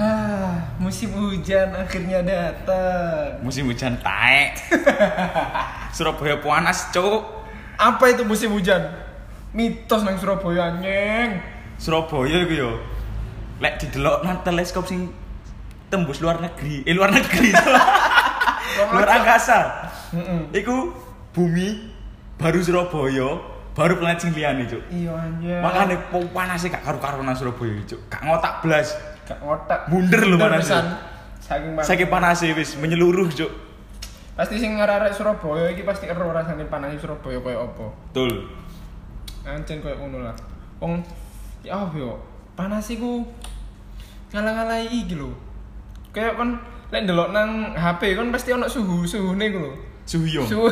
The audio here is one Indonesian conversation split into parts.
Ah, musim hujan akhirnya datang. Musim hujan taek. Surabaya panas, Cuk. Apa itu musim hujan? Mitos nang Surabaya anjing. Surabaya iku yo. Lek didelok nang teleskop sing tembus luar negeri, eh luar negeri. luar angkasa. Mm-mm. Iku bumi baru Surabaya, baru planet sing liyane, Cuk. Iya anjing. Makane po panasnya gak karu-karuan nang Surabaya, Cuk. Gak ngotak blas. gak otak. Bunder lho panasnya. Saking panas. Saking panasnya wis menyeluruh, Cuk. Pasti sing ngarep Surabaya iki pasti ero rasane panasnya Surabaya koyo apa. Betul. Anjing koyo ngono lah. Wong ya apa yo? Panas iku ngalah-ngalahi iki lho. Kayak kon lek ndelok nang HP kon pasti ono suhu-suhune iku lho. Suhyo. Suhu.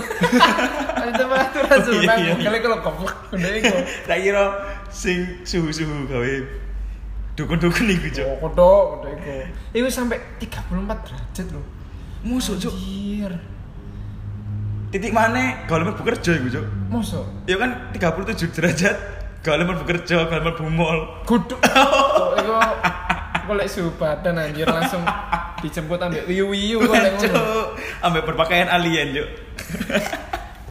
Ada peraturan suhu Iya, nang iya, iya. kali kalau goblok udah iku. Tak kira sing suhu-suhu gawe dukun-dukun iku, Cuk. Oh, kodok, kodok iku. Iku sampai 34 derajat lho. Musuh, Cuk. Anjir. Titik mana kalau mlebu kerja iku, Cuk? Mosok Ya kan 37 derajat. Kalau mlebu kerja, kalau mlebu mall. Kodok. Kok iku iku lek suhu badan anjir langsung dijemput ambek wiu-wiu kok lek ngono. Cuk, ambek berpakaian alien, Cuk.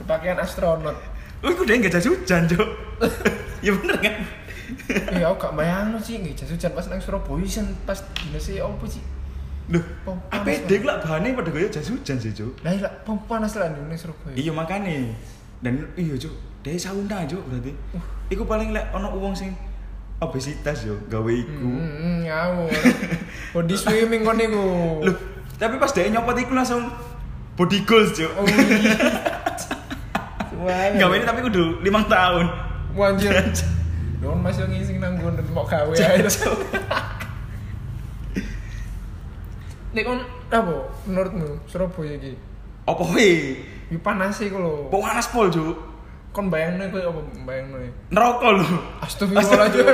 Berpakaian astronot. Oh, iku dia gak jas hujan, Cuk. ya bener kan? Eh, aku gak bayangno sih nggih jas hujan pas nang Surabaya sih pas dina sih opo sih? Loh, Oh, panas, APD ku lak bahane pada gaya jas hujan sih, Cuk. Lah iya, pom- panas lah nang Surabaya. Iya makane. Dan iya, Cuk. Dia sauna, Cuk, berarti. Uh. Iku paling lek ono wong sing obesitas yo gawe iku. Hmm, ngawur. Body swimming kon niku. Loh, tapi pas dia nyopot iku langsung body goals, Cuk. Oh, iya. Wah, Gawe ini tapi kudu 5 tahun. Wanjir. Don Mas yang ngising nang gondet mau gawe ae. Nek kon apa menurutmu Surabaya iki? Apa we? Iki panas iku lho. Kok panas pol, Cuk. Kon bayangno iku apa bayangno ya? Neraka lho. Astagfirullahaladzim.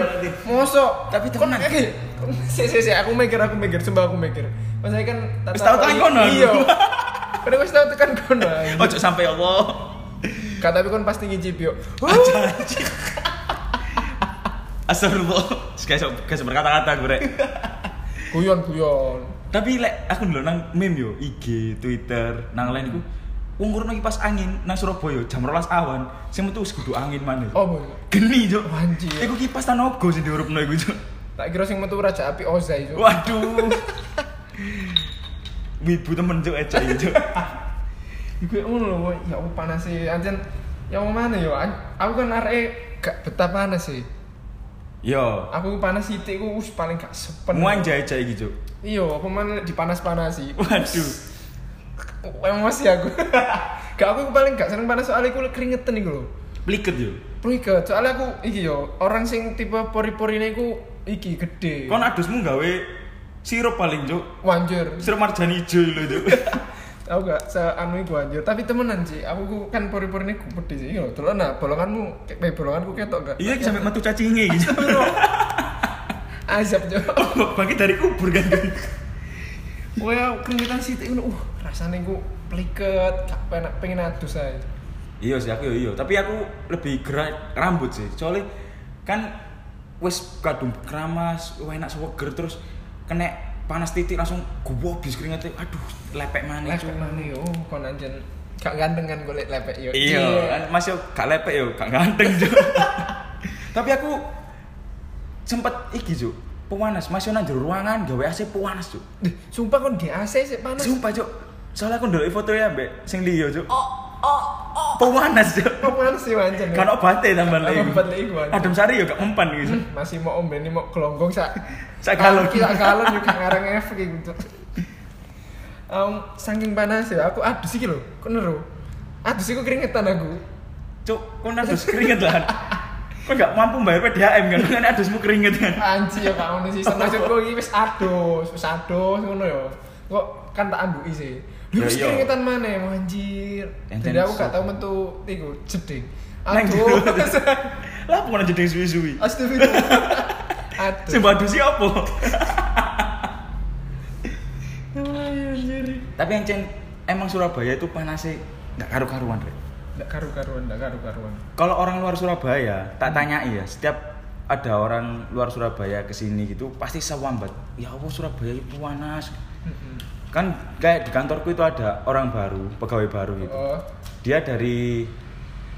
Mosok. Tapi temenan. Kon- eh, kon- Si si si aku mikir aku mikir sembah aku mikir. Mas saya kan tata- Wis tau tekan kono. Iya. Kan wis tau tekan kono. Ojo sampai Allah. Kata tapi kon pasti ngicip yo. Anjir. Astagfirullah. Guys, guys berkata-kata gue. Rek. Guyon guyon. Tapi lek aku dulu nang meme yo IG, Twitter, nang lain iku wong kurang lagi pas angin nang Surabaya jam 12 awan, sing metu wis kudu angin maneh. Oh, boy. Geni, Cuk. Anjir. Iku kipas tanogo sing diurupno iku, Cuk. tak kira sing metu raja api Ozai yo. Waduh. Wibu temen Cuk aja iki, Cuk. Iku yang ngono lho, woy. ya Allah panas sih. Anjen yang mana yo? An- Aku kan arek e gak betah panas sih. Yo. Aku panas titik ku us, paling gak sepen. Muan jaja iki, Cuk. Iya, apa mana dipanas-panas sih. Waduh. emosi aku gak aku paling gak seneng panas soalnya aku keringetan iku lho Pliket yo. Pliket, soalnya aku iki yo orang sing tipe pori-pori ini aku iki gede Kon adusmu gawe sirup paling, Cuk. wanjur Sirup marjan ijo lho, Cuk. tau gak seanu iku wanjur tapi temenan sih aku ku- kan pori-pori ini aku gede sih yo terus nah bolonganmu kayak eh, bolonganku ketok gak Iya, sampai metu cacinge gitu. azab jo Bangkit Oh, dari kubur kan. wah keringetan sih itu uh rasanya aku pliket gak pengen pengen adus aja iya sih aku yo iya, tapi aku lebih gerak rambut sih. Soalnya kan wis kadung keramas, wah enak seger terus kena panas titik langsung gua bis keringetnya aduh lepek mana lepek mana yo kon anjen gak ganteng kan golek lepek yo iya kan mas yo gak lepek yo gak ganteng jo tapi aku sempet iki jo pewanas mas yo nang jero ruangan gawe AC pewanas jo Dih, Sumpah kon di AC sih panas. sumpah jo soalnya aku ndelok foto ya mbak sing liyo jo oh oh oh pewanas jo Kok panas sih wancen. kan obate tambah Kan lagi obat lagi, Wan. adem sari yo gak mempan gitu masih mau om ini mau kelonggong sak Sak galon. Iki sak galon juga ngarang efek gitu. Um, saking panas ya, aku adus iki lho, kok neru. Adus iku keringetan aku. Cuk, kau nadus keringet lah. Kau nggak mampu bayar PDAM kan? Kan adusmu keringet kan? Anji ya kamu sih sama aku iki wis adus, wis adus ngono ya. Kok kan tak ambuki sih. Lu Ya, wis iya. keringetan mana mau anjir. Enten Jadi aku gak sup- tau metu iku jeding. Neng Aduh. Lah bukan jadi suwi-suwi. Astagfirullah. Aduh. Sing badusi apa? anjir. Tapi encen emang Surabaya itu panasnya nggak karu-karuan, Rek. Nggak karu-karuan, nggak karu-karuan. Kalau orang luar Surabaya, tak tanya ya, setiap ada orang luar Surabaya ke sini gitu pasti sewambat. Ya Allah Surabaya itu panas. Mm-mm. kan kayak di kantorku itu ada orang baru pegawai baru gitu Oh, dia dari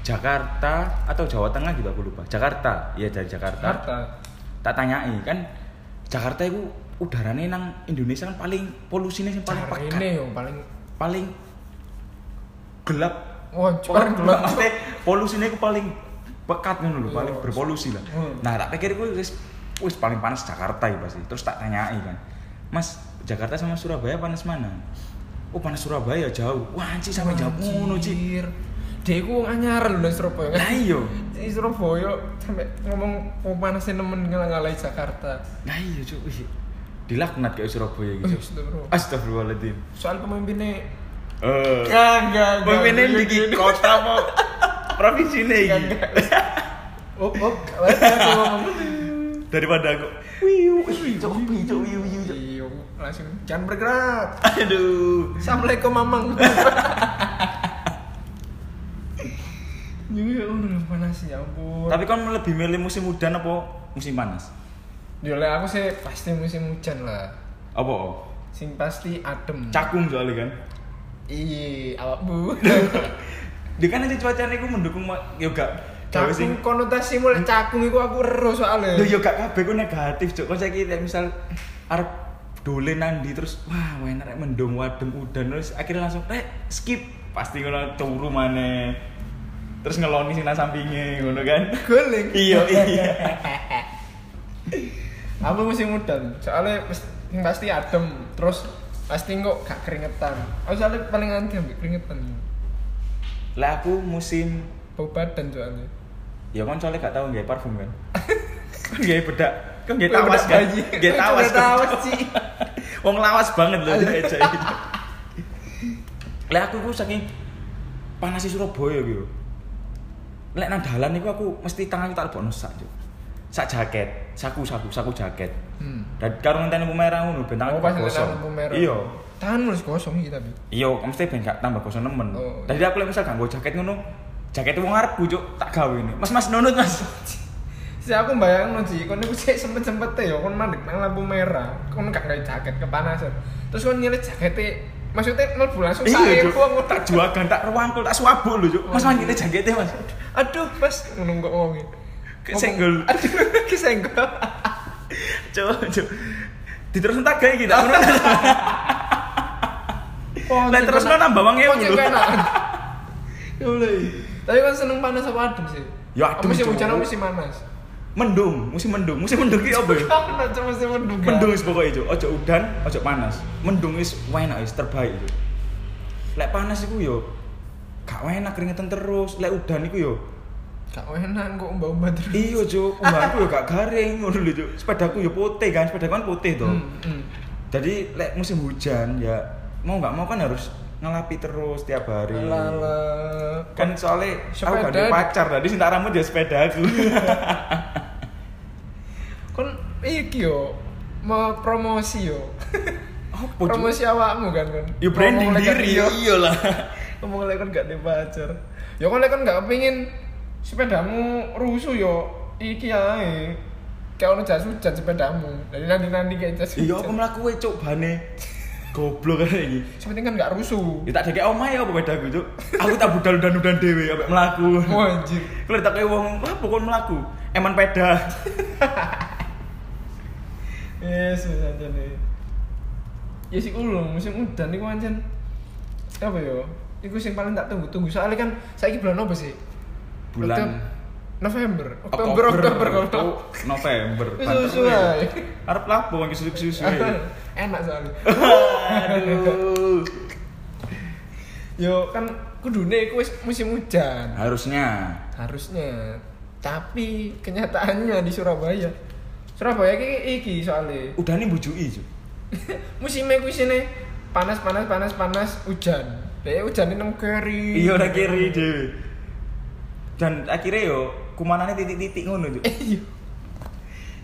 Jakarta atau Jawa Tengah gitu aku lupa Jakarta ya dari Jakarta Jakarta. tak tanyai kan Jakarta itu udaranya nang Indonesia kan paling polusinya sih paling Cara pekat ini yang paling paling gelap wah paling gelap. Maksudnya polusinya itu paling pekat ngono lho, paling Iya. berpolusi lah. Hmm. Nah, tak pikir gue wis wis paling panas Jakarta ya pasti. Terus tak tanyai kan. Mas, Jakarta sama Surabaya panas mana? Oh, panas Surabaya jauh. Wah, anci sampai jauh ngono, Ci. Anjir. Dia iku wong anyar lho nang Surabaya. Lah iya. Di Surabaya sampai ngomong pemanasin nemen ngalah Jakarta. Lah iya, Cuk. Ih, Dilaknat kayak Surabaya Oh, gitu. sudah bro. Astagfirullahaladzim. Soal pemimpinnya Eh, Enggak, enggak, enggak. pemimpinnya Gini, di gini. kota mau provinsi ini. Enggak, enggak. Oh, oh, lewat aku ngomong. Daripada aku. Wiu, ih, Cuk, ih, Cuk, wiu, wiu, Cuk. Iya, langsung jangan bergerak. Aduh. Assalamualaikum Mamang. Juga udah panas ya ampun. Tapi kan lebih milih musim hujan apa musim panas? Yo lek aku sih pasti musim hujan lah. Apa? Sing pasti adem. Cakung soalnya kan. Iya, awak bu. Dia kan aja cuacanya aku mendukung mak yo gak. gawe Cakung konotasi mulai cakung iku aku ero soalnya. Lho iya. yo gak kabeh ku negatif, Cuk. Kok saiki nek misal arep dolen nang ndi terus wah enak rek mendung wadem udan terus akhirnya langsung rek skip pasti ngono turu maneh. Terus ngeloni sing nang sampinge ngono kan. Guling. Iya, iya. Aku musim hujan, soalnya mes- yang pasti adem, terus pasti kok gak keringetan. Aku soalnya paling anti ambek keringetan. Lah aku musim Bau badan soalnya. ya kan soalnya gak tau nggae parfum kan. kan nggae bedak, kan nggae Bau tawas kan. badan bayi. Nggae tawas. Nggak kan. tawas sih. Wong lawas banget loh dia Jai. Lek aku ku saking panasi Surabaya gitu. Lek nang dalan niku aku mesti tanganku tak lebokno sak, Cuk. Sak jaket, saku saku saku jaket. Hmm. Dan karo ngenteni lampu merah ngono ben tanganku Oh, pas gak nek gosong. lampu merah. Iya. Tahan mulus kosong iki tapi. Iya, mesti ben gak tambah gosong nemen. Oh, Tadi aku lek misal gak nggo jaket ngono, jaket wong arepku, Cuk, tak gawe ini. Mas Mas nunut Mas. Si aku bayang sih, kon niku sik sempet-sempet ya kon mandek nang lampu merah, kon gak gawe jaket kepanasan. Terus kon nyilih jakete, maksudnya mlebu langsung Iya, sae Cuk. ku aku Tak juagan, tak ruangkul, tak suwabuk lho, Cuk. Mas Mas kita jaketnya, Mas. Aduh, Mas, ngono kok wonge. Kesenggol. Aduh, kesenggol. Coba, coba. Diterusin tak kayak gitu. Lah terus lo nambah uang ewu Kocok lho. enak. Ya boleh. Tapi kan seneng panas apa adem sih? Ya adem, Musim Cuk. hujan apa musim panas? Mendung, musim mendung, musim mendung iki apa ya? Panas cuma musim mendung. kan? Mendung wis pokoke itu, ojo udan, ojo panas. Mendung wis enak wis terbaik itu. Lek panas iku yo gak enak keringetan terus. Lek udan iku yo Gak enak kok mbak-mbak terus. iya Cuk, umbanku yo gak garing ngono lho Cuk. Sepedaku yo putih kan, sepedaku kan putih to. Hmm, hmm. Jadi lek musim hujan ya mau nggak mau kan harus ngelapi terus tiap hari. Lala. kan soalnya aku gak Sepeda. ada pacar tadi sing tak rambut ya sepeda aku Kon iki yo mau promosi yo. apa promosi awakmu kan kon. ya branding Ngomong lek kan diri yo. iyalah Ngomong lek kon gak ada pacar. Yo kon lek kon gak kepengin sepedamu rusuh yo iki ae. Kayak ono jas hujan sepedamu. Jadi nanti-nanti kayak jas iya apa hujan. melaku we cuk bane goblok kan ini Sepenting kan gak rusuh. ya tak dake omah ya apa beda aku cuk aku tak budal udan udan dewe apa melaku Oh, anjir. kalau tak kayak wong apa kon melaku eman peda Yes, wis aja nih. Ya sih ulung musim udan iku ancen apa yo? Iku sing paling tak tunggu-tunggu soalnya kan saiki bulan apa sih? Oktob- bulan November, Oktober, Oktober, Oh, Oktober. November Wis Banter susu we. ae. arep lapo wong susu susu Enak soalnya. aduh Yo kan kudune iku wis musim hujan. harusnya Harusnya. Tapi kenyataannya di Surabaya. Surabaya iki iki soalnya udah nih bujui cuk musimnya iku isine panas panas panas panas hujan. Dek hujan nang keri. iya orang kiri deh dan akhirnya yo kumanannya titik-titik ngono tuh Iya.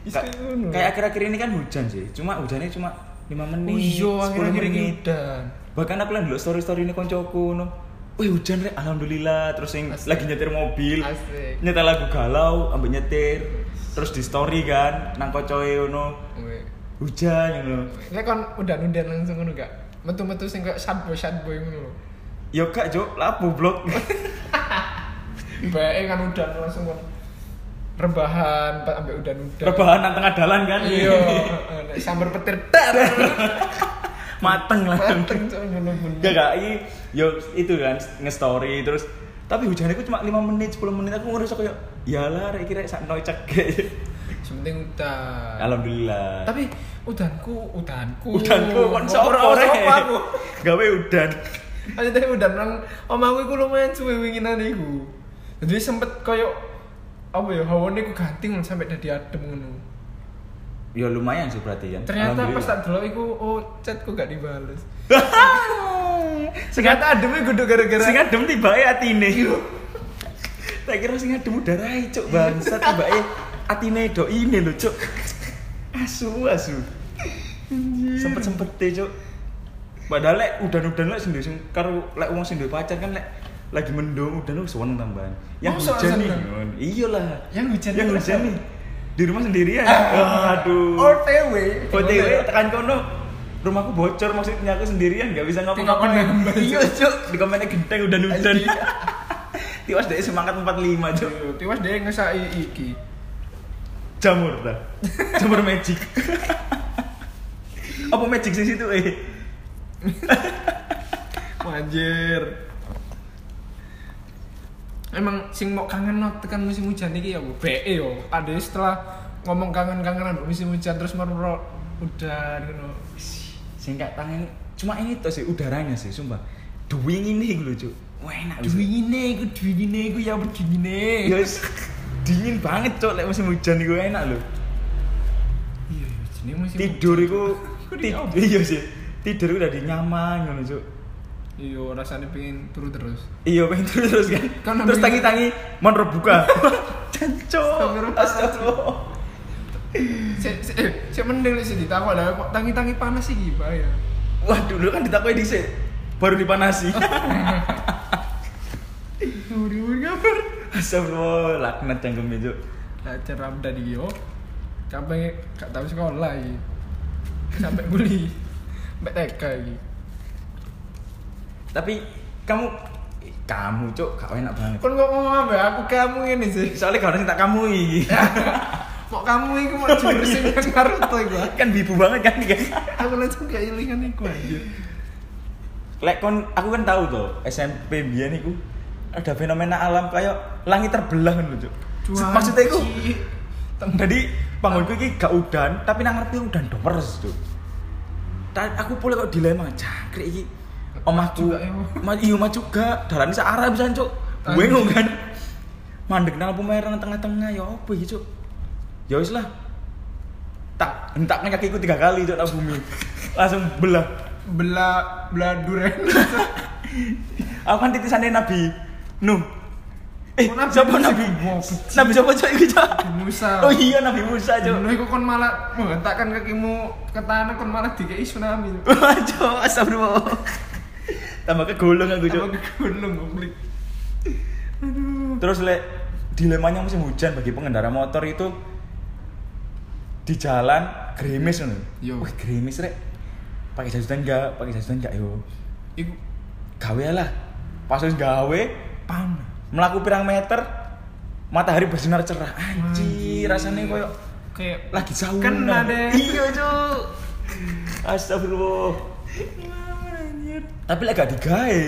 Ka- kayak akhir-akhir ini kan hujan sih cuma hujannya cuma 5 menit iya 10 akhir-akhir ini menit udan. bahkan aku lihat dulu story-story ini koncoku no Wih hujan rek, alhamdulillah. Terus yang Asik. lagi nyetir mobil, Asik. nyetel lagu galau, ambil nyetir. Terus di story kan, nang kocoe ono. Weh. hujan gitu loh Lek kon udan-udan langsung ngono gak? Metu-metu sing koyo sad boy sad boy ngono lho. yo kak jo lapo blok Bae kan udan langsung kon rebahan pa- ambek udan-udan. rebahan nang tengah dalan kan Iya, heeh, nek sambar petir dar. mateng lah Mateng cok ngono bener. Enggak, enggak, ini yo itu kan nge-story terus tapi hujannya itu cuma 5 menit, 10 menit aku ngerasa kayak ya lah rek kira sak noy cek Sementing udan. Alhamdulillah. Tapi udanku, udanku. udanku kon sore. aku. Gawe udan. Aja tadi udan nang omahku iku lumayan suwe winginan iku. Jadi sempet koyo apa ya hawane ku ganti ngono sampe dadi adem ngono. Ya lumayan sih berarti kan. Ternyata pas Alhamdulillah. tak delok iku oh chatku gak dibales. Singkat- Ternyata ademnya guduk gara-gara Iya. sing adem tibae atine. Tak kira sing adem udarae cuk bangsat tibae atine do ini lho cuk. Asu asu. Sempet-sempete cuk. Padahal lek udan-udan lek sendiri sing karo lek wong sing duwe pacar kan lek lagi mendung udan lu seneng tambahan. Yang Masa hujan nih. seneng? Yon. Iyalah. Yang hujan Ah. Yang nih. hujan nih. Di rumah sendirian. Aduh. OTW. OTW tekan kono rumahku bocor maksudnya aku sendirian gak bisa Di ngapa-ngapain komennya. iya cuk di komennya genteng udah nudan Iya. tiwas dari semangat 45 cuk Yo, Tiwas dia ngesai iki. jamur dah jamur magic apa magic sih situ eh Anjir. Emang sing mau kangen no tekan musim hujan iki ya Bu. BE yo. Ade setelah ngomong kangen-kangenan mbok musim hujan terus meroro udan ngono. singkat tangan cuma ini tuh sih udaranya sih sumpah duwing ini gitu loh cuk wah enak bisa. Duwingine iku duwingine iku ya begini. Ya, wis. dingin banget cuk lek musim hujan itu enak loh Iya, iya, jenenge musim tidur hujan. itu Kok ti- diomong? iya sih tidur itu udah nyaman ngono cuk Iya, rasanya pengen turu terus. Iya, pengen terus terus kan. Kan terus ambil- tangi-tangi mon rebuka. Canco. Astagfirullah. Astagfirullah. Sik sik eh, sik mending sih ditakok lah kok tangi-tangi panas iki, Pak ya. Waduh, lu kan ditakoi dhisik. Baru dipanasi. Turu kabar. Astagfirullah, laknat cangkem itu. Belajar Ramdan iki yo. Sampai gak tau sekolah iki. Sampai buli. Sampai TK iki. Tapi kamu kamu cuk, kau enak banget. Kon kok ngomong ambek aku kamu ngene sih. Soalnya gak ada yang tak kamu iki. Mau kamu iku mau jurusin yang Naruto iku. kan bibu banget kan iki. Aku langsung gak ilingan iku anjir. Lek kon aku kan tahu tuh SMP biyen niku ada fenomena alam kayak langit terbelah ngono lho, Cuk. Maksudnya iku Cuaci. Teng- Jadi panggonku iki gak udan, tapi nang ngerti udan domers tuh. Ta- aku boleh kok dilema cangkrik iki. Omahku Juga, ya. ma iya mah juga darane sak arah bisa cuk. Anjing. Bingung kan. Mandek nang lampu merah nang tengah-tengah ya apa iki cuk. Ya wis lah. Tak hentakne kakiku tiga kali cuk nang bumi. Langsung belah. Bela eh. bela duren. Aku kan titisane Nabi Nuh. Eh, Oh, Nabi Nuh siapa sih, Nabi? gua Nabi siapa cuk iki cuk? Musa. Oh iya Nabi Musa cuk. Dulu iku kon malah menghentakkan kakimu ke tanah kon malah dikei tsunami. Wah, Cok, astagfirullah. Tambah kegulung aku, Cok. Aku kegunung ngomlik. Terus lek dilemanya musim hujan bagi pengendara motor itu di jalan gerimis ngono. Yo. Wah, gerimis rek. Pakai jajutan enggak? Pakai jajutan enggak yo. Iku Gawe lah. Pas wis gawe, panas. melaku pirang meter, matahari bersinar cerah. Anjir, Anjir. rasanya koyo kayak kan lagi sauna. Kena deh. Iya, Cok. Astagfirullah. Nah, Tapi lek gak digawe.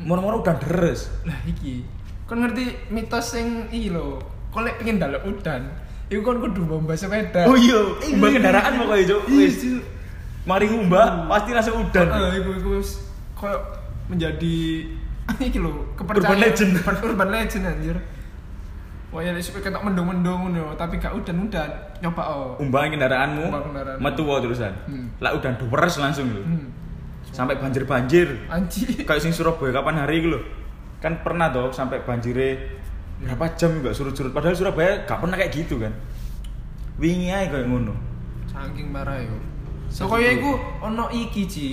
Moro-moro udah deres. lah iki kon ngerti mitos sing iki lho kon lek pengen dalek udan iku kon kudu mbah sepeda kan? Oh iya, umbah kendaraan pokoknya cok. Iya, Wis. Cuk. Mari ngumbah, pasti langsung udan. Hmm. Heeh, iku iku wis koyo menjadi iki lho kepercayaan Urban legend. Urban- urban legend anjir Wah ya, supaya ketok mendung-mendung ngono, tapi gak udan-udan. Nyoba oh. Umbah kendaraanmu, Umbah kendaraanmu. metu wae terusan. Hmm. Lah udan deres langsung lho. Hmm. Sampai banjir-banjir. Anji. Kayak sing Surabaya kapan hari iku lho. Kan pernah toh sampai banjire berapa jam nggak surut-surut. Padahal Surabaya gak pernah kayak gitu kan. Wingi ae kayak ngono. Saking parah yo. So Saking koyo parah. iku ono iki, Ci.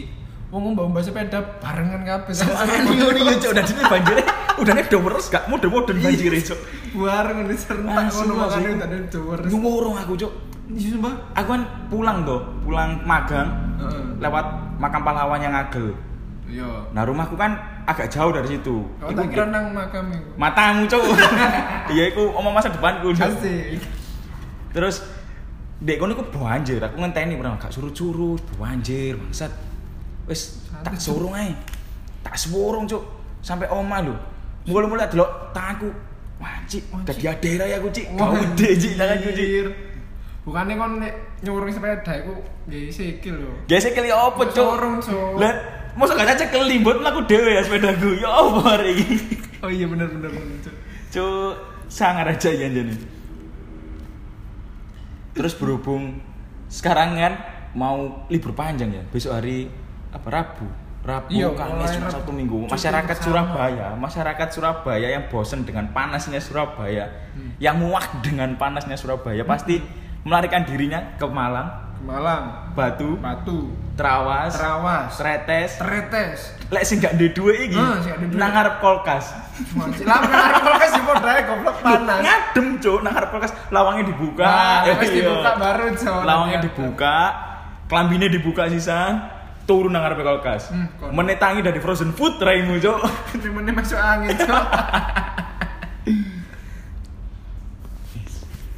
Wong mbah-mbah sepeda barengan kabeh. Sampai ngono ya cok, udah sini banjire udannya deres gak Iya. mode-moden banjire cok. Bareng serentak ngono Asu, asu. makane udan-udan. Ngurung aku cok. Iya sumpah. aku kan pulang tuh pulang magang Heeh. lewat makam pahlawan yang agel Iya. nah rumahku kan agak jauh dari situ Kau Iku Oh, tak kira ndek- nang makam iku. matamu cowok iya aku omong masa depanku Ndek. Asik. terus dek kono iku banjir aku ngenteni ora gak suruh-suruh banjir bangsat wis tak suruh ae tak suruh cuk sampai oma lho mulu-mulu tak delok tanganku wah cik Wah, Cik. dadi adera ya aku cik Wah, kau dek cik tanganku cik anjir. Bukannya kon nek nyurung sepeda iku nggih sikil lho. gesek kali opo cuk Sorong, Cuk. lah mosok gak cacek keli mbot mlaku dhewe ya sepedaku ya opo hari iki Oh iya bener bener bener. Cuk. cuk sangar aja ya jane terus berhubung sekarang kan mau libur panjang ya besok hari apa Rabu Rabu Iya, Kamis mulai cuma Rabu. satu minggu Cuti masyarakat bersama. Surabaya masyarakat Surabaya yang bosen dengan panasnya Surabaya Hmm. yang muak dengan panasnya Surabaya pasti melarikan dirinya ke Malang Ke Malang, Batu Batu, Trawas Terawas, Tretes Tretes. lek sing gak duwe duwe iki Ah, sing gak duwe duwe. nang ngarep kulkas Lah kan arek kolkes di podo ae goblok panas. ngadem cuk nang ngarep kulkas lawangnya dibuka Wah, Eh, wis iya. dibuka Iya. baru jauh. lawangnya dibuka kelambine dibuka sisa turun nang ngarep kulkas Hmm, kon. menetangi dari frozen food raimu cuk Temennya masuk angin, Cok.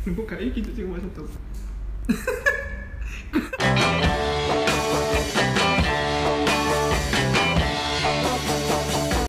Kok kayak gitu sih masuk tuh.